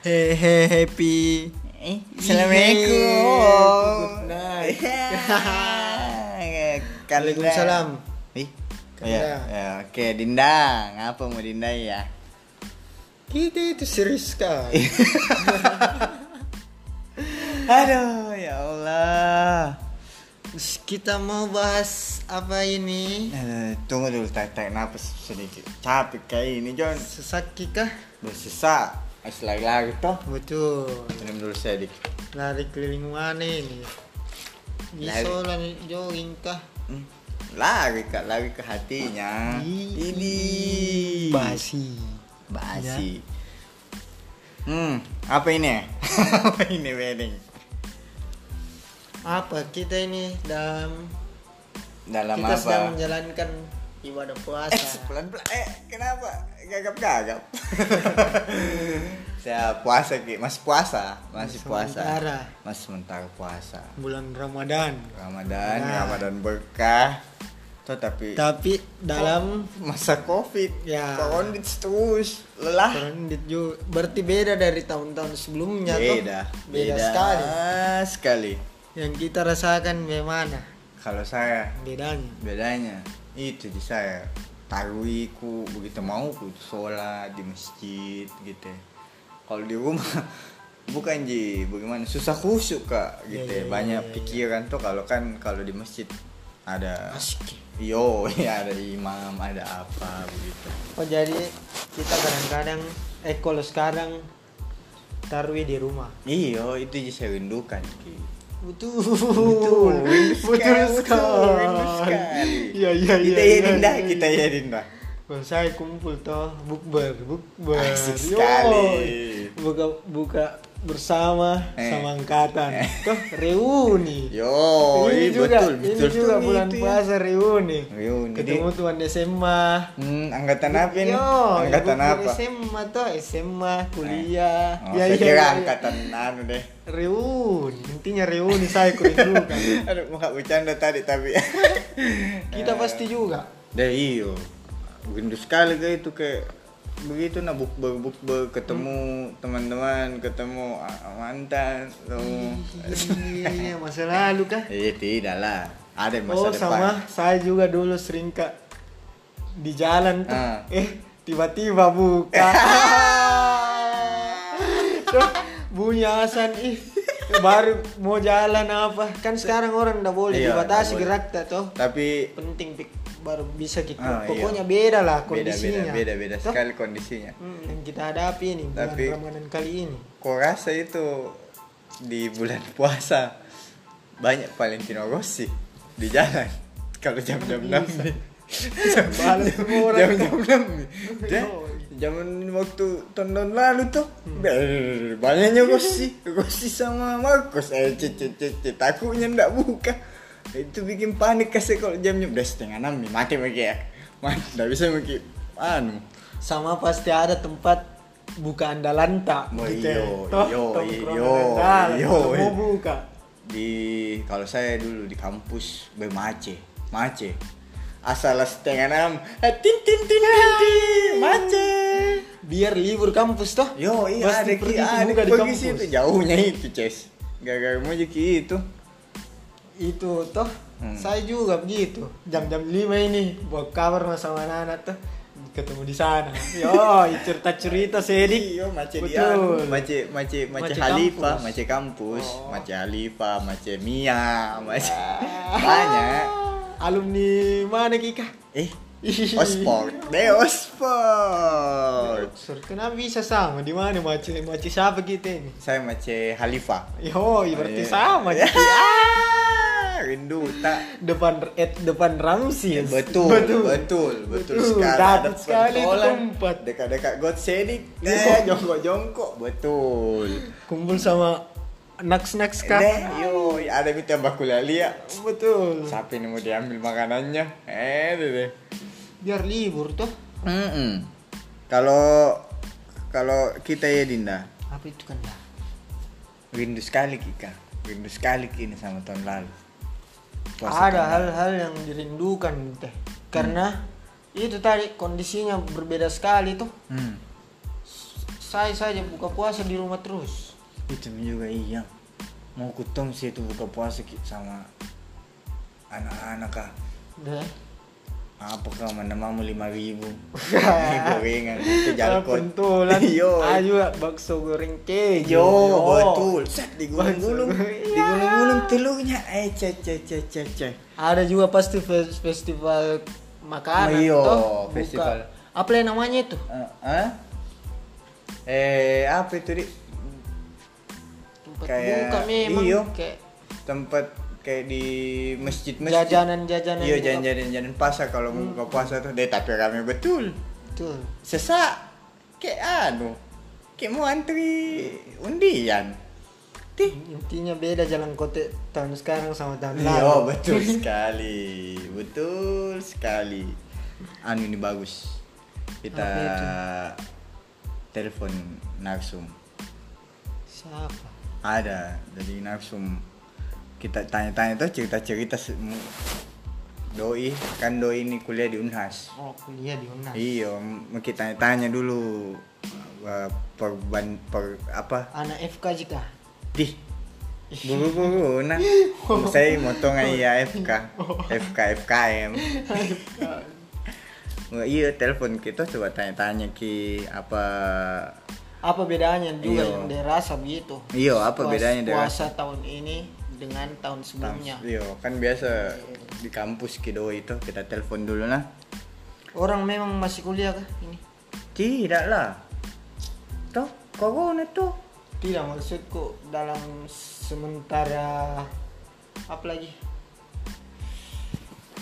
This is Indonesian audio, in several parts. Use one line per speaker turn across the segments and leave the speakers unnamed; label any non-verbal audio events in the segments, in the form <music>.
Hey hey happy. Yeay,
Eh, Assalamualaikum.
good night.
<laughs> Ya, Kak Dinda.
Waalaikumsalam.
Ih.
Kak
Ya,
Dinda.
ya, oke Dinda, ngapa mau Dinda ya?
Kita itu serius sekali.
Iya. Aduh, ya Allah.
Terus Kita mau bahas apa ini?
Eh, tunggu dulu tak tak nafas sedikit. Capek kayak ini John.
Sesak kah?
Bersesak. Harus lari-lari toh.
Betul.
Minum dulu sedikit.
Lari keliling mana ini?
Lari.
Bisa lari jogging kah?
Hmm. Lari kak, lari ke hatinya.
Ih.
Ini.
Basi. Ya.
Basi. Hmm, apa ini? <laughs> apa ini wedding?
Apa kita ini dalam
Dalam
kita
apa?
sedang menjalankan ibadah
Eh,
puasa.
pelan-pelan. Eh, kenapa?
<laughs>
Gagap-gagap. Saya puasa, Ki. Masih puasa. Masih
Masih
puasa.
sementara.
Masih sementara puasa.
Bulan Ramadan.
Ramadan,
Nah.
Ramadan berkah. Tuh tapi
Tapi dalam
masa Covid,
Ya.
Corona terus lelah.
Corona juga berarti beda dari tahun-tahun sebelumnya toh?
Beda,
beda, sekali.
sekali.
Yang kita rasakan bagaimana
Kalau saya
bedanya?
bedanya itu di saya tarwiku begitu mau ku sholat di masjid gitu ya. kalau di rumah <laughs> bukan ji bagaimana susah khusyuk kak gitu
Ya, ya,
ya,
ya,
banyak
ya, ya.
pikiran tuh kalau kan kalau di masjid ada
Asik.
yo <laughs> ya ada imam ada apa begitu
Oh jadi kita kadang-kadang eh kalau sekarang tarwi di rumah.
iyo Iya, itu ji saya rindukan ki
Betul.
Betul,
<laughs>
rindu
Betul
sekali, betul, rindu
sekali.
sekali.
Iya iya iya.
kita ya
iya,
dinda
iya.
kita ya dinda
Kalau saya kumpul toh bukber, bukber. Yo.
Asik sekali.
Buka buka bersama
Eh.
sama angkatan. Toh reuni.
yo
ini
iya,
juga,
Oh, eh, betul
ini
betul
juga
tuh
bulan
itu ya.
puasa reuni.
Reuni.
Ketemu tuan SMA.
Hmm, angkatan apa ini?
Yo, ibu
angkatan
guru
apa?
SMA tuh SMA eh, kuliah.
Eh.
Ya,
Oh, saya kira angkatan anu deh.
Reuni, intinya reuni saya kan. kurindukan.
<laughs> Aduh, mau nggak bercanda tadi tapi. Eh.
Kita pasti juga.
<laughs> Deh iyo. Rindu sekali kayak itu kayak begitu nah bukber bukber ketemu teman-teman ketemu ah, mantan ketemu
Iya, iya, masa lalu kan. kah?
eh tidak lah ada
Oh,
masa depan
sama saya juga dulu sering kak di jalan tuh.
Ah.
Eh, tiba-tiba
<laughs>
buka. Tuh, bunyi asan ih baru mau jalan apa kan sekarang orang nggak boleh
Iya,
dibatasi
nggak boleh.
gerak tak toh
tapi
penting pik baru bisa gitu
Ah, iya.
pokoknya beda lah
beda beda
kondisinya
beda beda
Toh,
sekali kondisinya
hmm, yang kita hadapi ini bulan
Tapi-
Ramadan kali ini
Kok rasa itu di bulan <laughs> puasa banyak Valentino Rossi di jalan kalau jam-jam enam nih. <laughs>
Balas semua orang.
jam jam enam nih. Dia-
Yoi.
zaman waktu tahun tahun lalu tuh
Hmm.
ber- banyaknya Rossi Rossi sama Marcos eh cicit cicit takutnya ndak buka itu bikin panik kasih kalau jamnya udah setengah enam nih mati mungkin ya mati ndak bisa mungkin anu
sama pasti ada tempat buka andalan tak
Oh,
gitu ya.
iyo,
Toh,
iyo,
tongkrongan
iyo,
andalan,
iyo.
kalau mau buka
di kalau saya dulu di kampus bermace mace asal setengah enam eh, tin tin tin tin tin mace
biar libur kampus toh
yo iya
Pasti
ada ki
pergi
ada
dibuka di
pergi
kampus.
situ jauhnya itu ces gara-gara mau jadi itu
itu toh
Hmm.
saya juga begitu jam-jam 5 ini bawa kabar mas sama anak tuh ketemu di sana yo cerita cerita sedik
Iyo, Iya, anu,
betul
mace dia mace mace mace
Mace
Halifa
kampus.
mace kampus
Oh.
mace Halifa mace Mia mace
Ah.
banyak
alumni mana kika
eh
<laughs>
Osport, deh Osport.
Sur, kenapa bisa sama di mana mace mace siapa kita ini
Saya mace Halifa.
yo berarti
iya. <laughs>
sama
Ya.
kita. Iya.
<laughs> Rindu tak?
depan eh, depan Ramsi
Eh, Betul, betul, betul, betul, sekali.
Dapat sekali itu
pentolan
tempat
Dekat-dekat God Sedik.
Iya.
Eh, jongkok-jongkok. Betul.
kumpul sama naks naks kak
Deh, yo, ada minta baku lia.
betul
Sapi ini ya? mau diambil makanannya. Eh, deh. deh.
biar libur toh
Mm-mm. Kalau kalau kita ya Dinda,
apa itu kan dah
rindu sekali Kika. Rindu sekali kini sama tahun lalu. kan.
ada hal-hal yang dirindukan teh
Hmm.
karena itu tadi kondisinya berbeda sekali tuh
Hmm.
saya saja buka puasa di rumah terus
itu juga iya mau ketemu sih itu buka puasa ki- sama anak-anak kah
deh
apa kah mana mama lima <laughs> ribu gorengan itu jalkot
pentulan
<laughs> yo
ayo bakso goreng keju
yo betul set digulung-gulung
Bakso
<laughs>
goreng.
digulung-gulung telurnya eh ceh ceh ceh ceh ceh
ada juga pasti fe- festival makanan
Iya,
toh. Buka-
festival.
apa yang namanya itu
Eh, eh? eh apa itu di
tempat
Kayak-
buka memang
iyo.
kayak
tempat kayak di masjid masjid
jajanan-jajanan
iya
buka-
jajanan jajanan pasar kalau mau buka puasa tuh deh tapi rame betul
betul
sesak kayak anu kayak mau antri undian tih
intinya beda jalan kota tahun sekarang sama tahun lalu
Iya betul sekali, betul sekali. Anu ini bagus. Kita
Apa itu?
telepon Naksum.
<laughs> siapa
Ada dari Naksum. Kita tanya-tanya tuh cerita-cerita se- mu- doi kan doi ini kuliah di Unhas.
oh kuliah di Unas
Iya, m- kita tanya-tanya dulu uh, perban per apa?
anak FK jika
Dih. Buru-buru nah. Saya motong aja FK. FK FKM. Nggak, iya telepon kita coba tanya-tanya ki apa
apa bedanya juga
Iyo.
yang derasa begitu
Iyo, apa
Puas-
bedanya
puasa
derasa?
tahun ini dengan tahun sebelumnya
Iya kan biasa di kampus kido itu kita telepon dulu lah
orang memang masih kuliah kah ini
tidak lah toh corona tuh
tidak maksudku dalam sementara apa lagi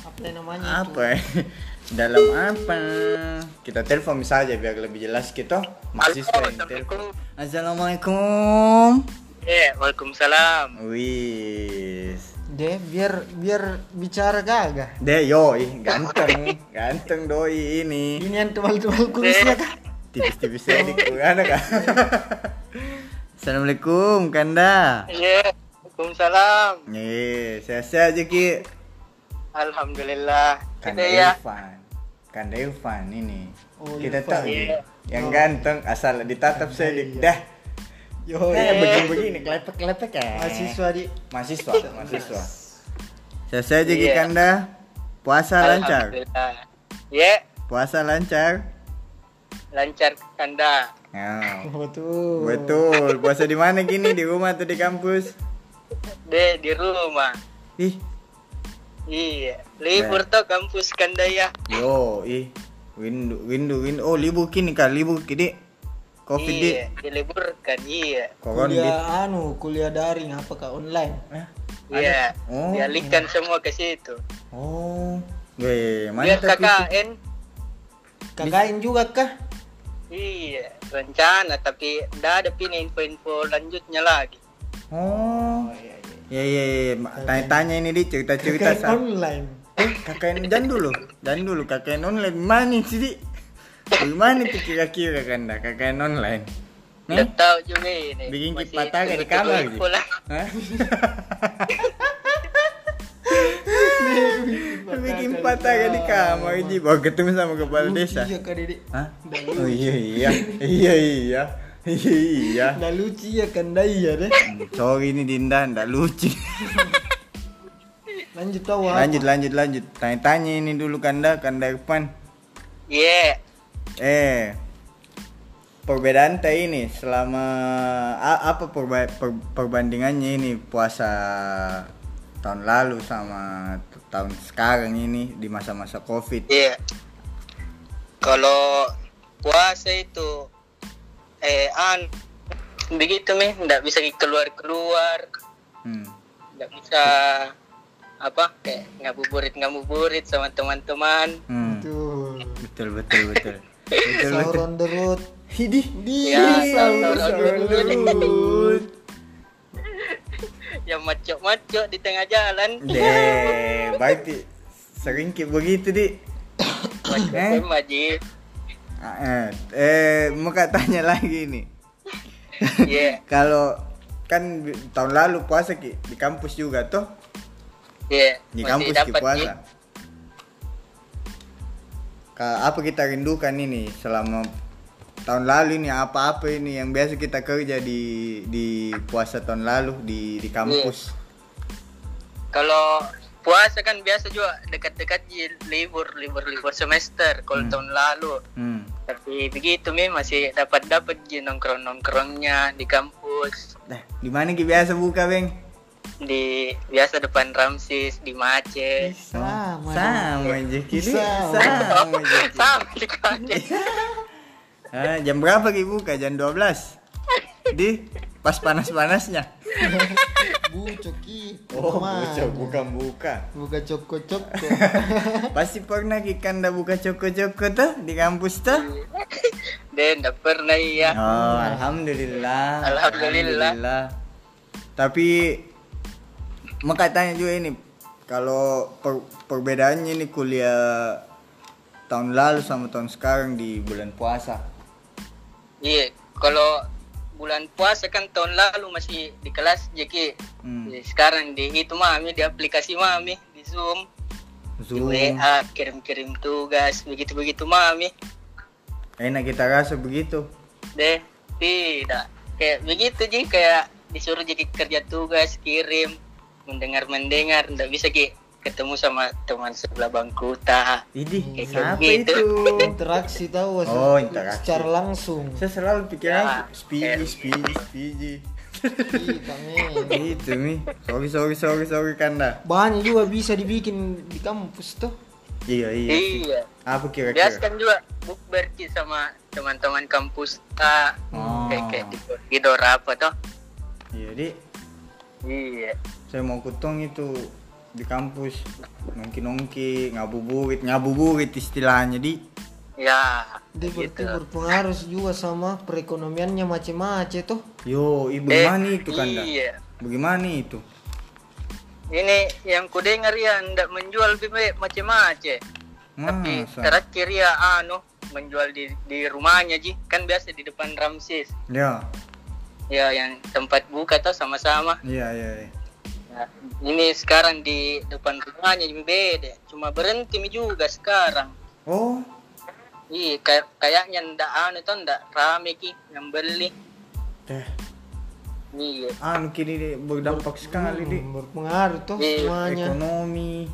apa yang namanya itu
apa ya? <laughs> dalam apa kita telepon saja biar lebih jelas kita mahasiswa yang telepon assalamualaikum
Eh, waalaikumsalam.
wis
deh biar biar bicara gagah
deh yoi ganteng ganteng doi ini
ini yang tebal-tebal kumisnya kah
tipis-tipis aja di ada kak <laughs> Assalamualaikum Kanda
Iya, waalaikumsalam.
Nih, sehat-sehat aja Ki
Alhamdulillah. Kita
Kanda
ya.
Irfan Kanda Irfan Kan ini
Oh,
Kita
Irfan.
tahu
Iya.
Yang ganteng asal ditatap saya di- Dah
iya. yo iya.
Eh, begini-begini, kelepek-kelepek ya
mahasiswa di
Mahasiswa, mahasiswa Sehat-sehat aja Ki
Iya.
Kanda Puasa lancar
Alhamdulillah. Iya,
Puasa lancar
lancar kanda.
Nah,
Oh, betul
Betul, puasa di mana gini? Di rumah atau di kampus?
De di rumah.
Ih,
Iya, libur tuh kampus kanda ya.
Yo, ih. Windu, windu, windu. Oh, libur kini kah? Libur kini. Covid di.
Iya, diliburkan. Iya.
Koron di.
kuliah anu kuliah daring apakah online
Eh?
Iya,
Oh.
dialihkan semua ke situ.
Oh. Weh, mana
Biar
tapi
KKN.
kakain juga kah
Iya, rencana tapi dah ada pina info-info lanjutnya lagi.
Oh. Ya ya ya, Ma- tanya-tanya ini di cerita-cerita
Kakain
sa.
online
Eh, kakak ini jangan dulu. Jangan dulu kakak ini online mana sih, Di? Di mana tuh kira-kira kan dah kakak ini online?
Nggak
Nih,
tahu juga ini.
bikin
Masih
patah di
tunggu-tunggu
kamar Ha? gitu.
info lah.
<laughs> Hah?
Bikin
Bikin
patah
patah di kamar Ji, bawa ketemu sama kepala desa.
Iya kah dedek
Hah? Oh iya iya iya iya iya iya.
Nah lucu ya kan dah iya deh
Hmm, Sorry ini Dinda, ndak lucu.
Lanjut tau ah. apa?
lanjut lanjut lanjut. Tanya-tanya ini dulu Kanda, Kanda Irfan.
Iya,
Eh, perbedaan teh ini selama a- apa perba- per- perbandingannya ini puasa tahun lalu sama t- tahun sekarang ini di masa-masa covid.
iya. Kalau puasa itu eh an begitu meh ndak bisa keluar keluar,
Hmm.
ndak bisa apa kayak ngabuburit ngabuburit sama teman-teman.
Hmm.
Tuh
Betul betul betul. betul betul.
Sauron the road
Hidih, di
Ya,
sahur
sauron
terus.
Yang Ya, macok-macok di tengah jalan.
Iya. Deh, berarti sering kayak begitu, Di.
Macok
Eh?
tema, Ji.
Ah, Eh, eh mau kak tanya lagi nih.
Iya,
Kalau kan bi- tahun lalu puasa Ki, di kampus juga toh?
iya.
Di
Masih
kampus Ki
dapat, Ji.
puasa. Ka- apa kita rindukan ini selama tahun lalu ini apa-apa ini yang biasa kita kerja di di puasa tahun lalu di di kampus.
Iya. Kalau puasa kan biasa juga dekat-dekat je libur libur libur semester kalau tahun lalu.
Hmm.
Tapi begitu mi masih dapat dapat je nongkrong nongkrongnya di kampus
Nah, di mana ki biasa buka, Beng?
di biasa depan Ramsis di Macet.
Sama.
Sama
Iya.
aja kiri.
Sama.
<laughs>
Sama aja.
Sama di Macet.
<laughs> Ah, jam berapa ki buka? Jam 12. Di pas panas-panasnya.
Bucok ki.
buka bukan buka.
Buka coko coko.
<laughs> Pasti pernah ki kanda buka coko-coko tuh di kampus tuh.
Dan tidak pernah ya. iya.
Oh, alhamdulillah.
Alhamdulillah.
Alhamdulillah. Tapi mau tanya juga ini kalau per- perbedaannya ini kuliah tahun lalu sama tahun sekarang di bulan puasa. Ya.
Iya, kalau bulan puasa kan tahun lalu masih di kelas JK.
Hmm.
Jadi Sekarang di itu mami di aplikasi mami di Zoom, di
Zoom.
WA kirim-kirim tugas begitu-begitu mami.
Enak kita rasa begitu.
Deh, tidak. Kayak begitu Ji, kayak disuruh jadi kerja tugas, kirim, mendengar-mendengar, ndak bisa Ki ketemu sama teman sebelah bangku tak.
Ini
Kayak
siapa
gitu.
itu?
interaksi tahu se-
Oh, interaksi.
secara langsung.
Saya selalu
Ya.
pikiran spiji, spiji, spiji.
Ih, kami.
Itu mi. Sorry, sorry, sorry, sorry kanda.
Banyak juga bisa dibikin di kampus tuh.
Iya, iya. sih.
Iya.
Apa kira-kira?
Biasa kan juga bukber Ki sama teman-teman kampus tak.
Oh.
Kayak kayak di, di Dora apa toh?
Iya, Dik.
Iya.
saya mau kutong itu di kampus nongki nongki ngabuburit ngabuburit istilahnya di
Ya,
Iya,
Dia berarti
gitu.
berpengaruh juga sama perekonomiannya macem-macem tuh.
yo ibu
Eh,
bagaimana itu kanda
Iya.
bagaimana itu
Ini yang ku dengar ya ndak menjual bibit macam-macam. Tapi
masa
terakhir ya anu menjual di di rumahnya Ji. Kan biasa di depan Ramses.
ya
Ya, yang tempat buka tuh sama-sama.
iya iya iya.
Nah, ini sekarang di depan rumahnya Ji, beda. Cuma berhenti mi juga sekarang.
oh
Iya, kayak kayaknya ndak anu tuh ndak rame ki yang beli.
teh
Iya.
anu kini Dik, berdampak sekali di
Hmm, berpengaruh tuh
Iya,
semuanya.
ekonomi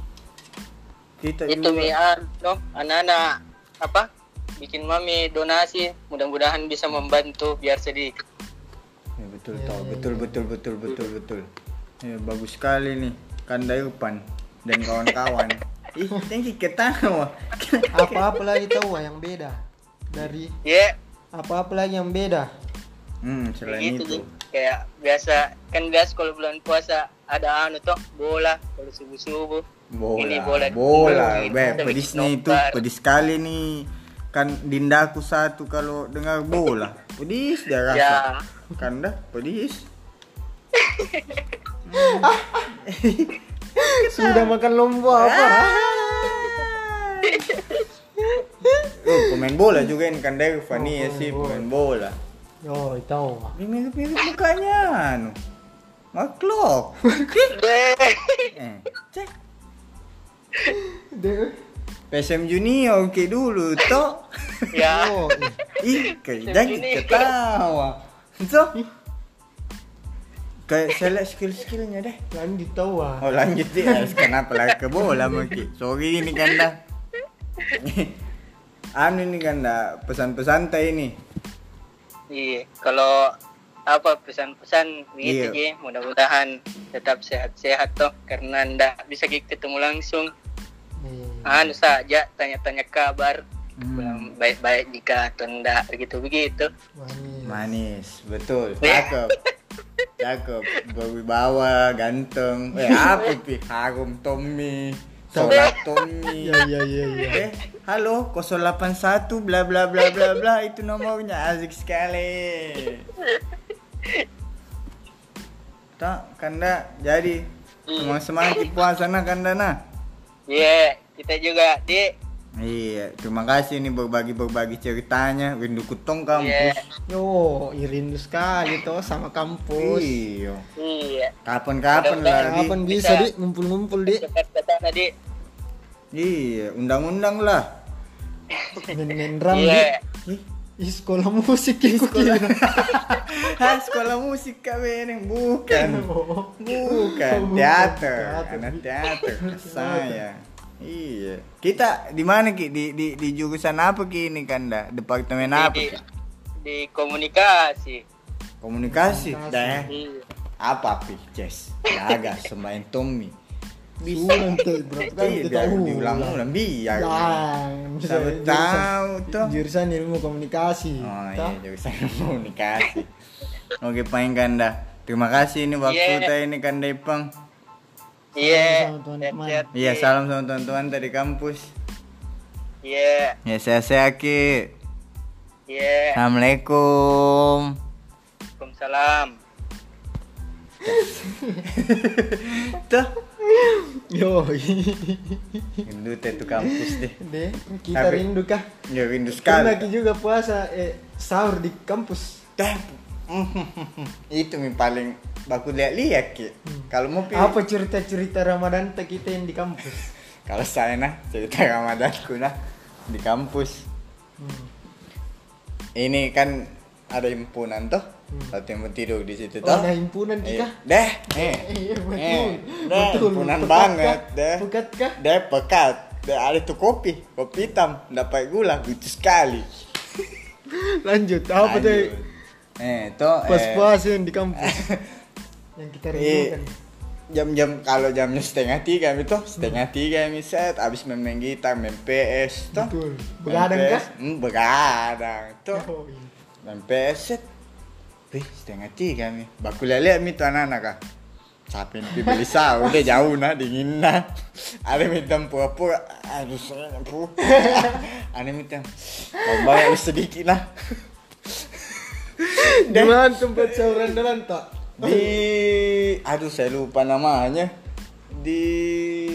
kita
itu
juga
WA no anak-anak apa bikin mami donasi mudah-mudahan bisa membantu biar sedikit
Ya, betul tau betul betul betul betul betul ya, bagus sekali nih kanda Yupan dan kawan-kawan ih thank you ketawa
Apa-apa lagi tahu yang beda dari
ya
apa-apa lagi yang beda.
hmm selain
begitu
itu
Ji. Gitu, kayak biasa kan biasa kalau bulan puasa ada anu toh bola kalau subuh subuh
Bola,
Ini bola. gitu.
bola,
Ini
Be,
bola.
pedisnya itu
Nobar.
pedis sekali nih. Kan dindaku satu kalau dengar bola, pedis dia rasa.
Ya.
Kan dah, pedis.
Sudah makan lomba apa?
Ah. Oh, pemain bola juga ini kan dari Fani ya sih pemain bola.
Oh, tahu.
Ini mirip-mirip mukanya, anu. Maklok.
Ya,
eh, cek.
Deh.
PSM Junior ke dulu, toh.
<laughs> ya
Oh, eh.
Ih, kayak jangan ketawa. So, kayak saya lihat skill-skillnya deh.
lanjut tahu ah.
Oh lanjut sih, Eh, kenapa lah ke bola mungkin. Sorry ini kanda. <laughs> anu ini kanda, pesan-pesan teh ini.
iya kalau apa pesan-pesan
Iya.
gitu Ji. mudah-mudahan tetap sehat-sehat toh karena ndak bisa Ki ketemu langsung
Eh,
Ah.
anu saja tanya-tanya kabar
Hmm.
Belum baik-baik jika atau enggak begitu begitu
manis.
Manis, betul, cakep. Cakep, berwibawa, ganteng. Eh, apa sih? Harum Tommy, sholat
Iya
Tommy.
iya iya iya.
Eh, halo 081 bla bla bla bla bla itu nomornya asik sekali. Tak, kanda jadi Emang semangat di puasa nah kanda nah.
Iya, kita juga di
Iya, terima kasih nih berbagi-berbagi ceritanya. Rindu kutong kampus.
Yo, irindu sekali tuh sama kampus.
Iya.
iya.
Kapan-kapan lagi.
Kapan
Di-
bisa,
bisa.
Dik? Ngumpul-ngumpul, Dik.
Dekat sana di.
Iya, undang-undang lah.
Main-main drum, Dik.
Iya.
Ih,
Ih, sekolah musik ya kok
sekolah.
kira.
<laughs> Hah, sekolah musik kah Beneng? Bukan.
Oh.
Bukan,
Oh, bukan.
teater.
Teater.
Anak teater saya. Iya. Kita di mana Ki? Di di di jurusan apa Ki ini Kanda? Departemen Nah, apa?
di,
Ki?
di komunikasi
Komunikasi.
Komunikasi.
Dah. eh.
Iya.
Apa Pi? Ces. Jaga sembahin Tommy.
Bisa nanti berapa kali
Iya,
kita Ya.
biar
ulang.
diulang-ulang biar. Oh,
Jangan.
Bisa tahu tuh.
Jurusan ilmu komunikasi.
Oh
Tah?
iya, jurusan <laughs> komunikasi. Oke, Pang Kanda. Terima kasih ini waktu
Iya.
tadi ini Kanda Ipang.
iya
Sama-sama, Tuan Hikmat.
sehat-sehat,
Iya,
Ki.
salam sama teman-teman dari kampus.
iya
Ya, sehat-sehat Ki.
iya
Assalamualaikum.
Waalaikumsalam
Tuh. iya.
Yo. <laughs>
Rindu teh tuh kampus deh.
Deh, kita
Tapi-
rindu kah?
Ya rindu
Karena
sekali.
Ki juga puasa eh sahur di kampus.
Dah. <laughs> Itu yang paling baku lihat-lihat ki. Kalau mau pilih.
Hmm. Apa cerita-cerita Ramadan teh kita yang di kampus?
Kalau saya nah cerita Ramadanku nah di kampus.
Hmm.
Ini kan ada himpunan tuh. Satu yang tidur di situ
Hmm. Oh,
tuh.
ada himpunan Ki
Iya.
kah?
Deh. Eh.
Iya, betul.
Eh. Deh,
Betul.
himpunan
Pekat
banget
kah?
deh.
Pekat kah?
Deh pekat. Deh ada tuh kopi, kopi hitam, dapat gula, lucu sekali.
Lanjut, apa
Lanjut.
tuh?
Eh, tuh eh,
Pas-pas yang di
<laughs>
kampus. yang kita
Iya.
rindukan.
jam-jam kalau jamnya setengah tiga itu setengah tiga miset abis main, main gitar main PS tuh
Betul.
Main
Begadang
PS,
kah?
hmm, begadang tuh
Oh, iya.
main PS set Wih, setengah tiga mi baku lihat mi tuh anak-anak kah Sapi nih beli
<laughs>
sahur udah jauh nah dingin nah ada minta pura-pura aduh saya
<laughs>
pura ada minta mau sedikit lah. nah
Di mana tempat sahuran dalam tak?
di aduh saya lupa namanya di
<laughs>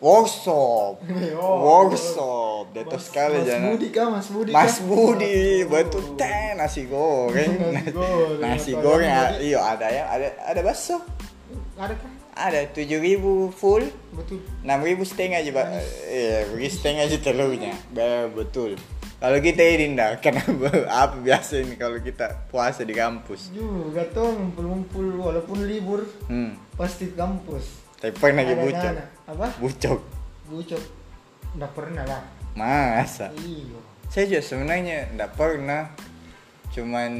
workshop
Oh.
workshop detok
Mas
sekali jangan
Budi kah? Mas Budi kan?
Mas
kah?
Budi
Oh.
betul teh nasi goreng
<laughs> Nasi goreng,
nasi
atau
goreng
ayam
a- iya ada ya ada ada bakso
Ada kah?
ada tujuh ribu full
Betul.
enam ribu setengah aja pak iya bagi setengah aja telurnya Be- betul kalau kita ini <laughs> dah kenapa apa biasa ini kalau kita puasa di kampus
Juga tuh ngumpul-ngumpul walaupun libur
hmm
pasti ke kampus.
tapi pernah lagi
Ada
bucok
anak. Apa?
bucok
Bucok. Nggak pernah lah.
Masa?
Iya.
Saya juga sebenarnya nggak pernah Cuman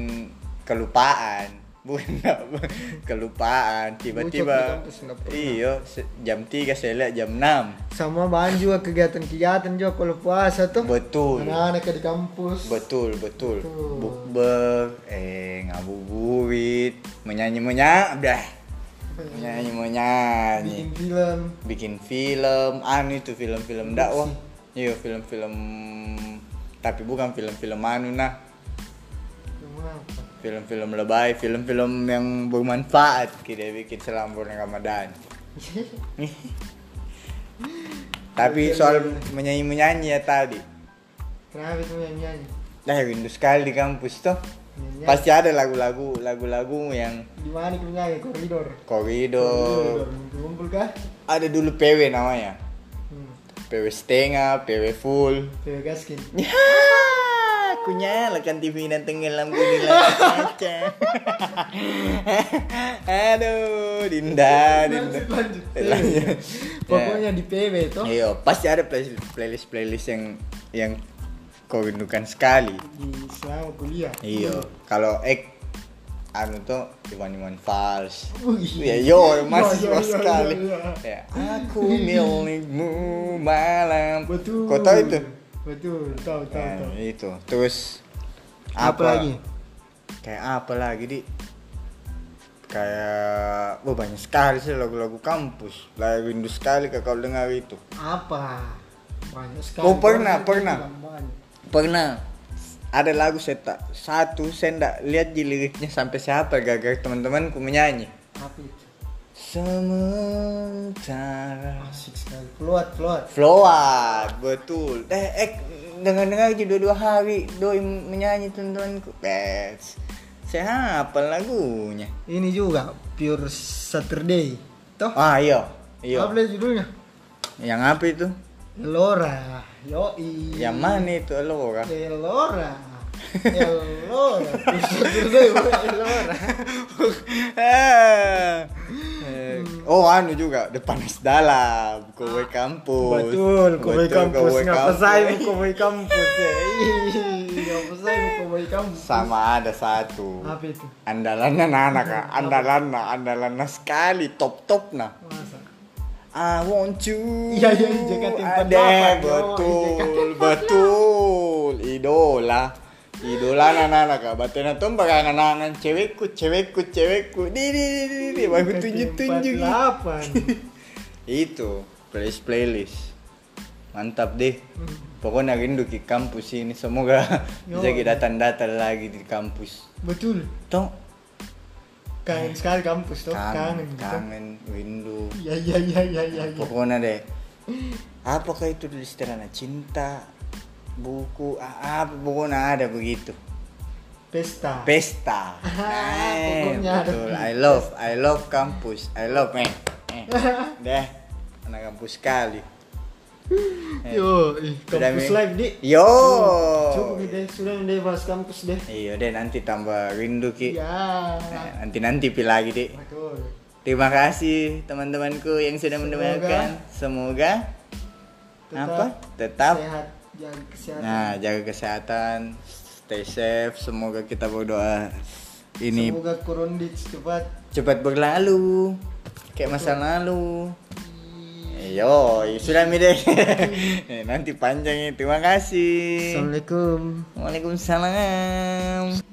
kelupaan <laughs> Bukan nggak pernah. kelupaan
Bucok di
Tiba-tiba
kampus nggak pernah.
Iya se- jam 3 saya lihat jam 6
Sama bahan juga kegiatan-kegiatan juga kalau puasa tuh.
Betul
Anak-anak di kampus.
Betul, betul
Betul.
Bukber Eh ngabuburit Menyanyi-menyanyi Dah
ya?
Menyanyi-menyanyi
Bikin film.
bikin film anu itu film-film dakwah iya film-film tapi bukan film-film anu nah
Cuma apa?
film-film lebay film-film yang bermanfaat kita bikin selama bulan Ramadan tapi soal menyanyi menyanyi ya tadi
Kenapa itu nyanyi-nyanyi?
dah rindu sekali di kampus tuh
Nyanyi-nyanyi.
pasti ada lagu-lagu lagu-lagu yang
Di mana kita nyanyi? Koridor.
koridor
Kumpul kah?
ada dulu PW namanya
Hmm.
PW setengah PW full
Cewek gaskin.
Ya, aku nyalakan TV dan tenggelam ke dalam kaca. <laughs> Aduh, Dinda, Dinda.
Lanjut, lanjut.
Lanjut. Ya.
Pokoknya di PB toh.
Iya, pasti ada playlist playlist yang yang kau rindukan sekali.
Di selama kuliah.
Iya, kalau ek anu tuh Iwan Iwan Fals.
Wih.
Ya
Iya,
yo masih
Yo, yo, yo,
sekali.
yo, yo.
Ya, aku milikmu malam.
Betul.
Kau tahu itu?
Betul, tahu tahu
Nah,
tahu.
itu. Terus
Apa lagi?
Kayak apa lagi, Di? Kayak oh, banyak sekali sih lagu-lagu kampus. Lah rindu sekali ke kalau dengar itu.
Apa? Banyak sekali.
Oh, pernah,
Banyak,
pernah.
banyak.
Pernah ada lagu saya tak satu saya ndak lihat di liriknya sampai siapa gara-gara teman-temanku menyanyi.
Apa itu?
Sementara
Asik sekali. Keluar, keluar.
Float, betul. Eh, eh dengar-dengar aja dua-dua hari doi menyanyi teman-temanku. Bes. Saya hafal lagunya.
Ini juga Pure Saturday. Toh?
Ah, iya. Iya.
Apa lagi judulnya?
Yang apa itu?
Elora. Yoi.
Ya, Yang mana itu lo <laughs>
Elora. Ya Allah. Jujur deh, Bu. Ya Allah.
<laughs> Ah. Eh, Oh anu juga depan es dalam kowe kampus
Betul, koboi
Betul,
kampus
kowe
ngapa
kampus.
saya koboi kampus ya? Ih, Ngapa saya koboi kampus?
sama ada satu
Apa itu?
andalannya nana kak andalannya andalannya sekali top top nah
Masa?
I want you
Iya, iya, JKT48,
ada
yo, Iya,
betul betul idola idola nana kak batena tuh bakal nganangan cewekku cewekku cewekku di di di di
Iya,
di baru tunjuk tunjuk
Delapan.
itu playlist playlist mantap deh pokoknya rindu ke kampus ini semoga
Hmm. Yo.
<laughs> bisa kita datang datang lagi di kampus
Betul.
toh
Kangen sekali kampus tuh. Kangen.
kangen
gitu.
kangen rindu
Iya iya iya iya iya. iya.
pokoknya deh apakah itu tulis terana cinta buku ah, apa pokoknya ada begitu
Pesta. <laughs>
pesta Eh,
pokoknya ada
betul
begitu.
I love I love kampus I love eh,
<laughs>
eh. deh anak kampus sekali
Yo, ih, kampus
Mi?
live di.
yo
Cukup deh, sudah deh bahas kampus deh.
iya deh nanti tambah rindu ki
Ya.
nanti nanti pi lagi deh
Betul.
terima kasih teman-temanku yang sudah mendengarkan semoga
Tetap
apa tetap
Sehat, jaga kesehatan.
Nah, jaga kesehatan, stay safe. Semoga kita berdoa ini
Semoga korondit cepat.
cepat berlalu, kayak masa lalu. Yo, sudah mide. Nanti panjang ya. Terima kasih.
Assalamualaikum.
Waalaikumsalam.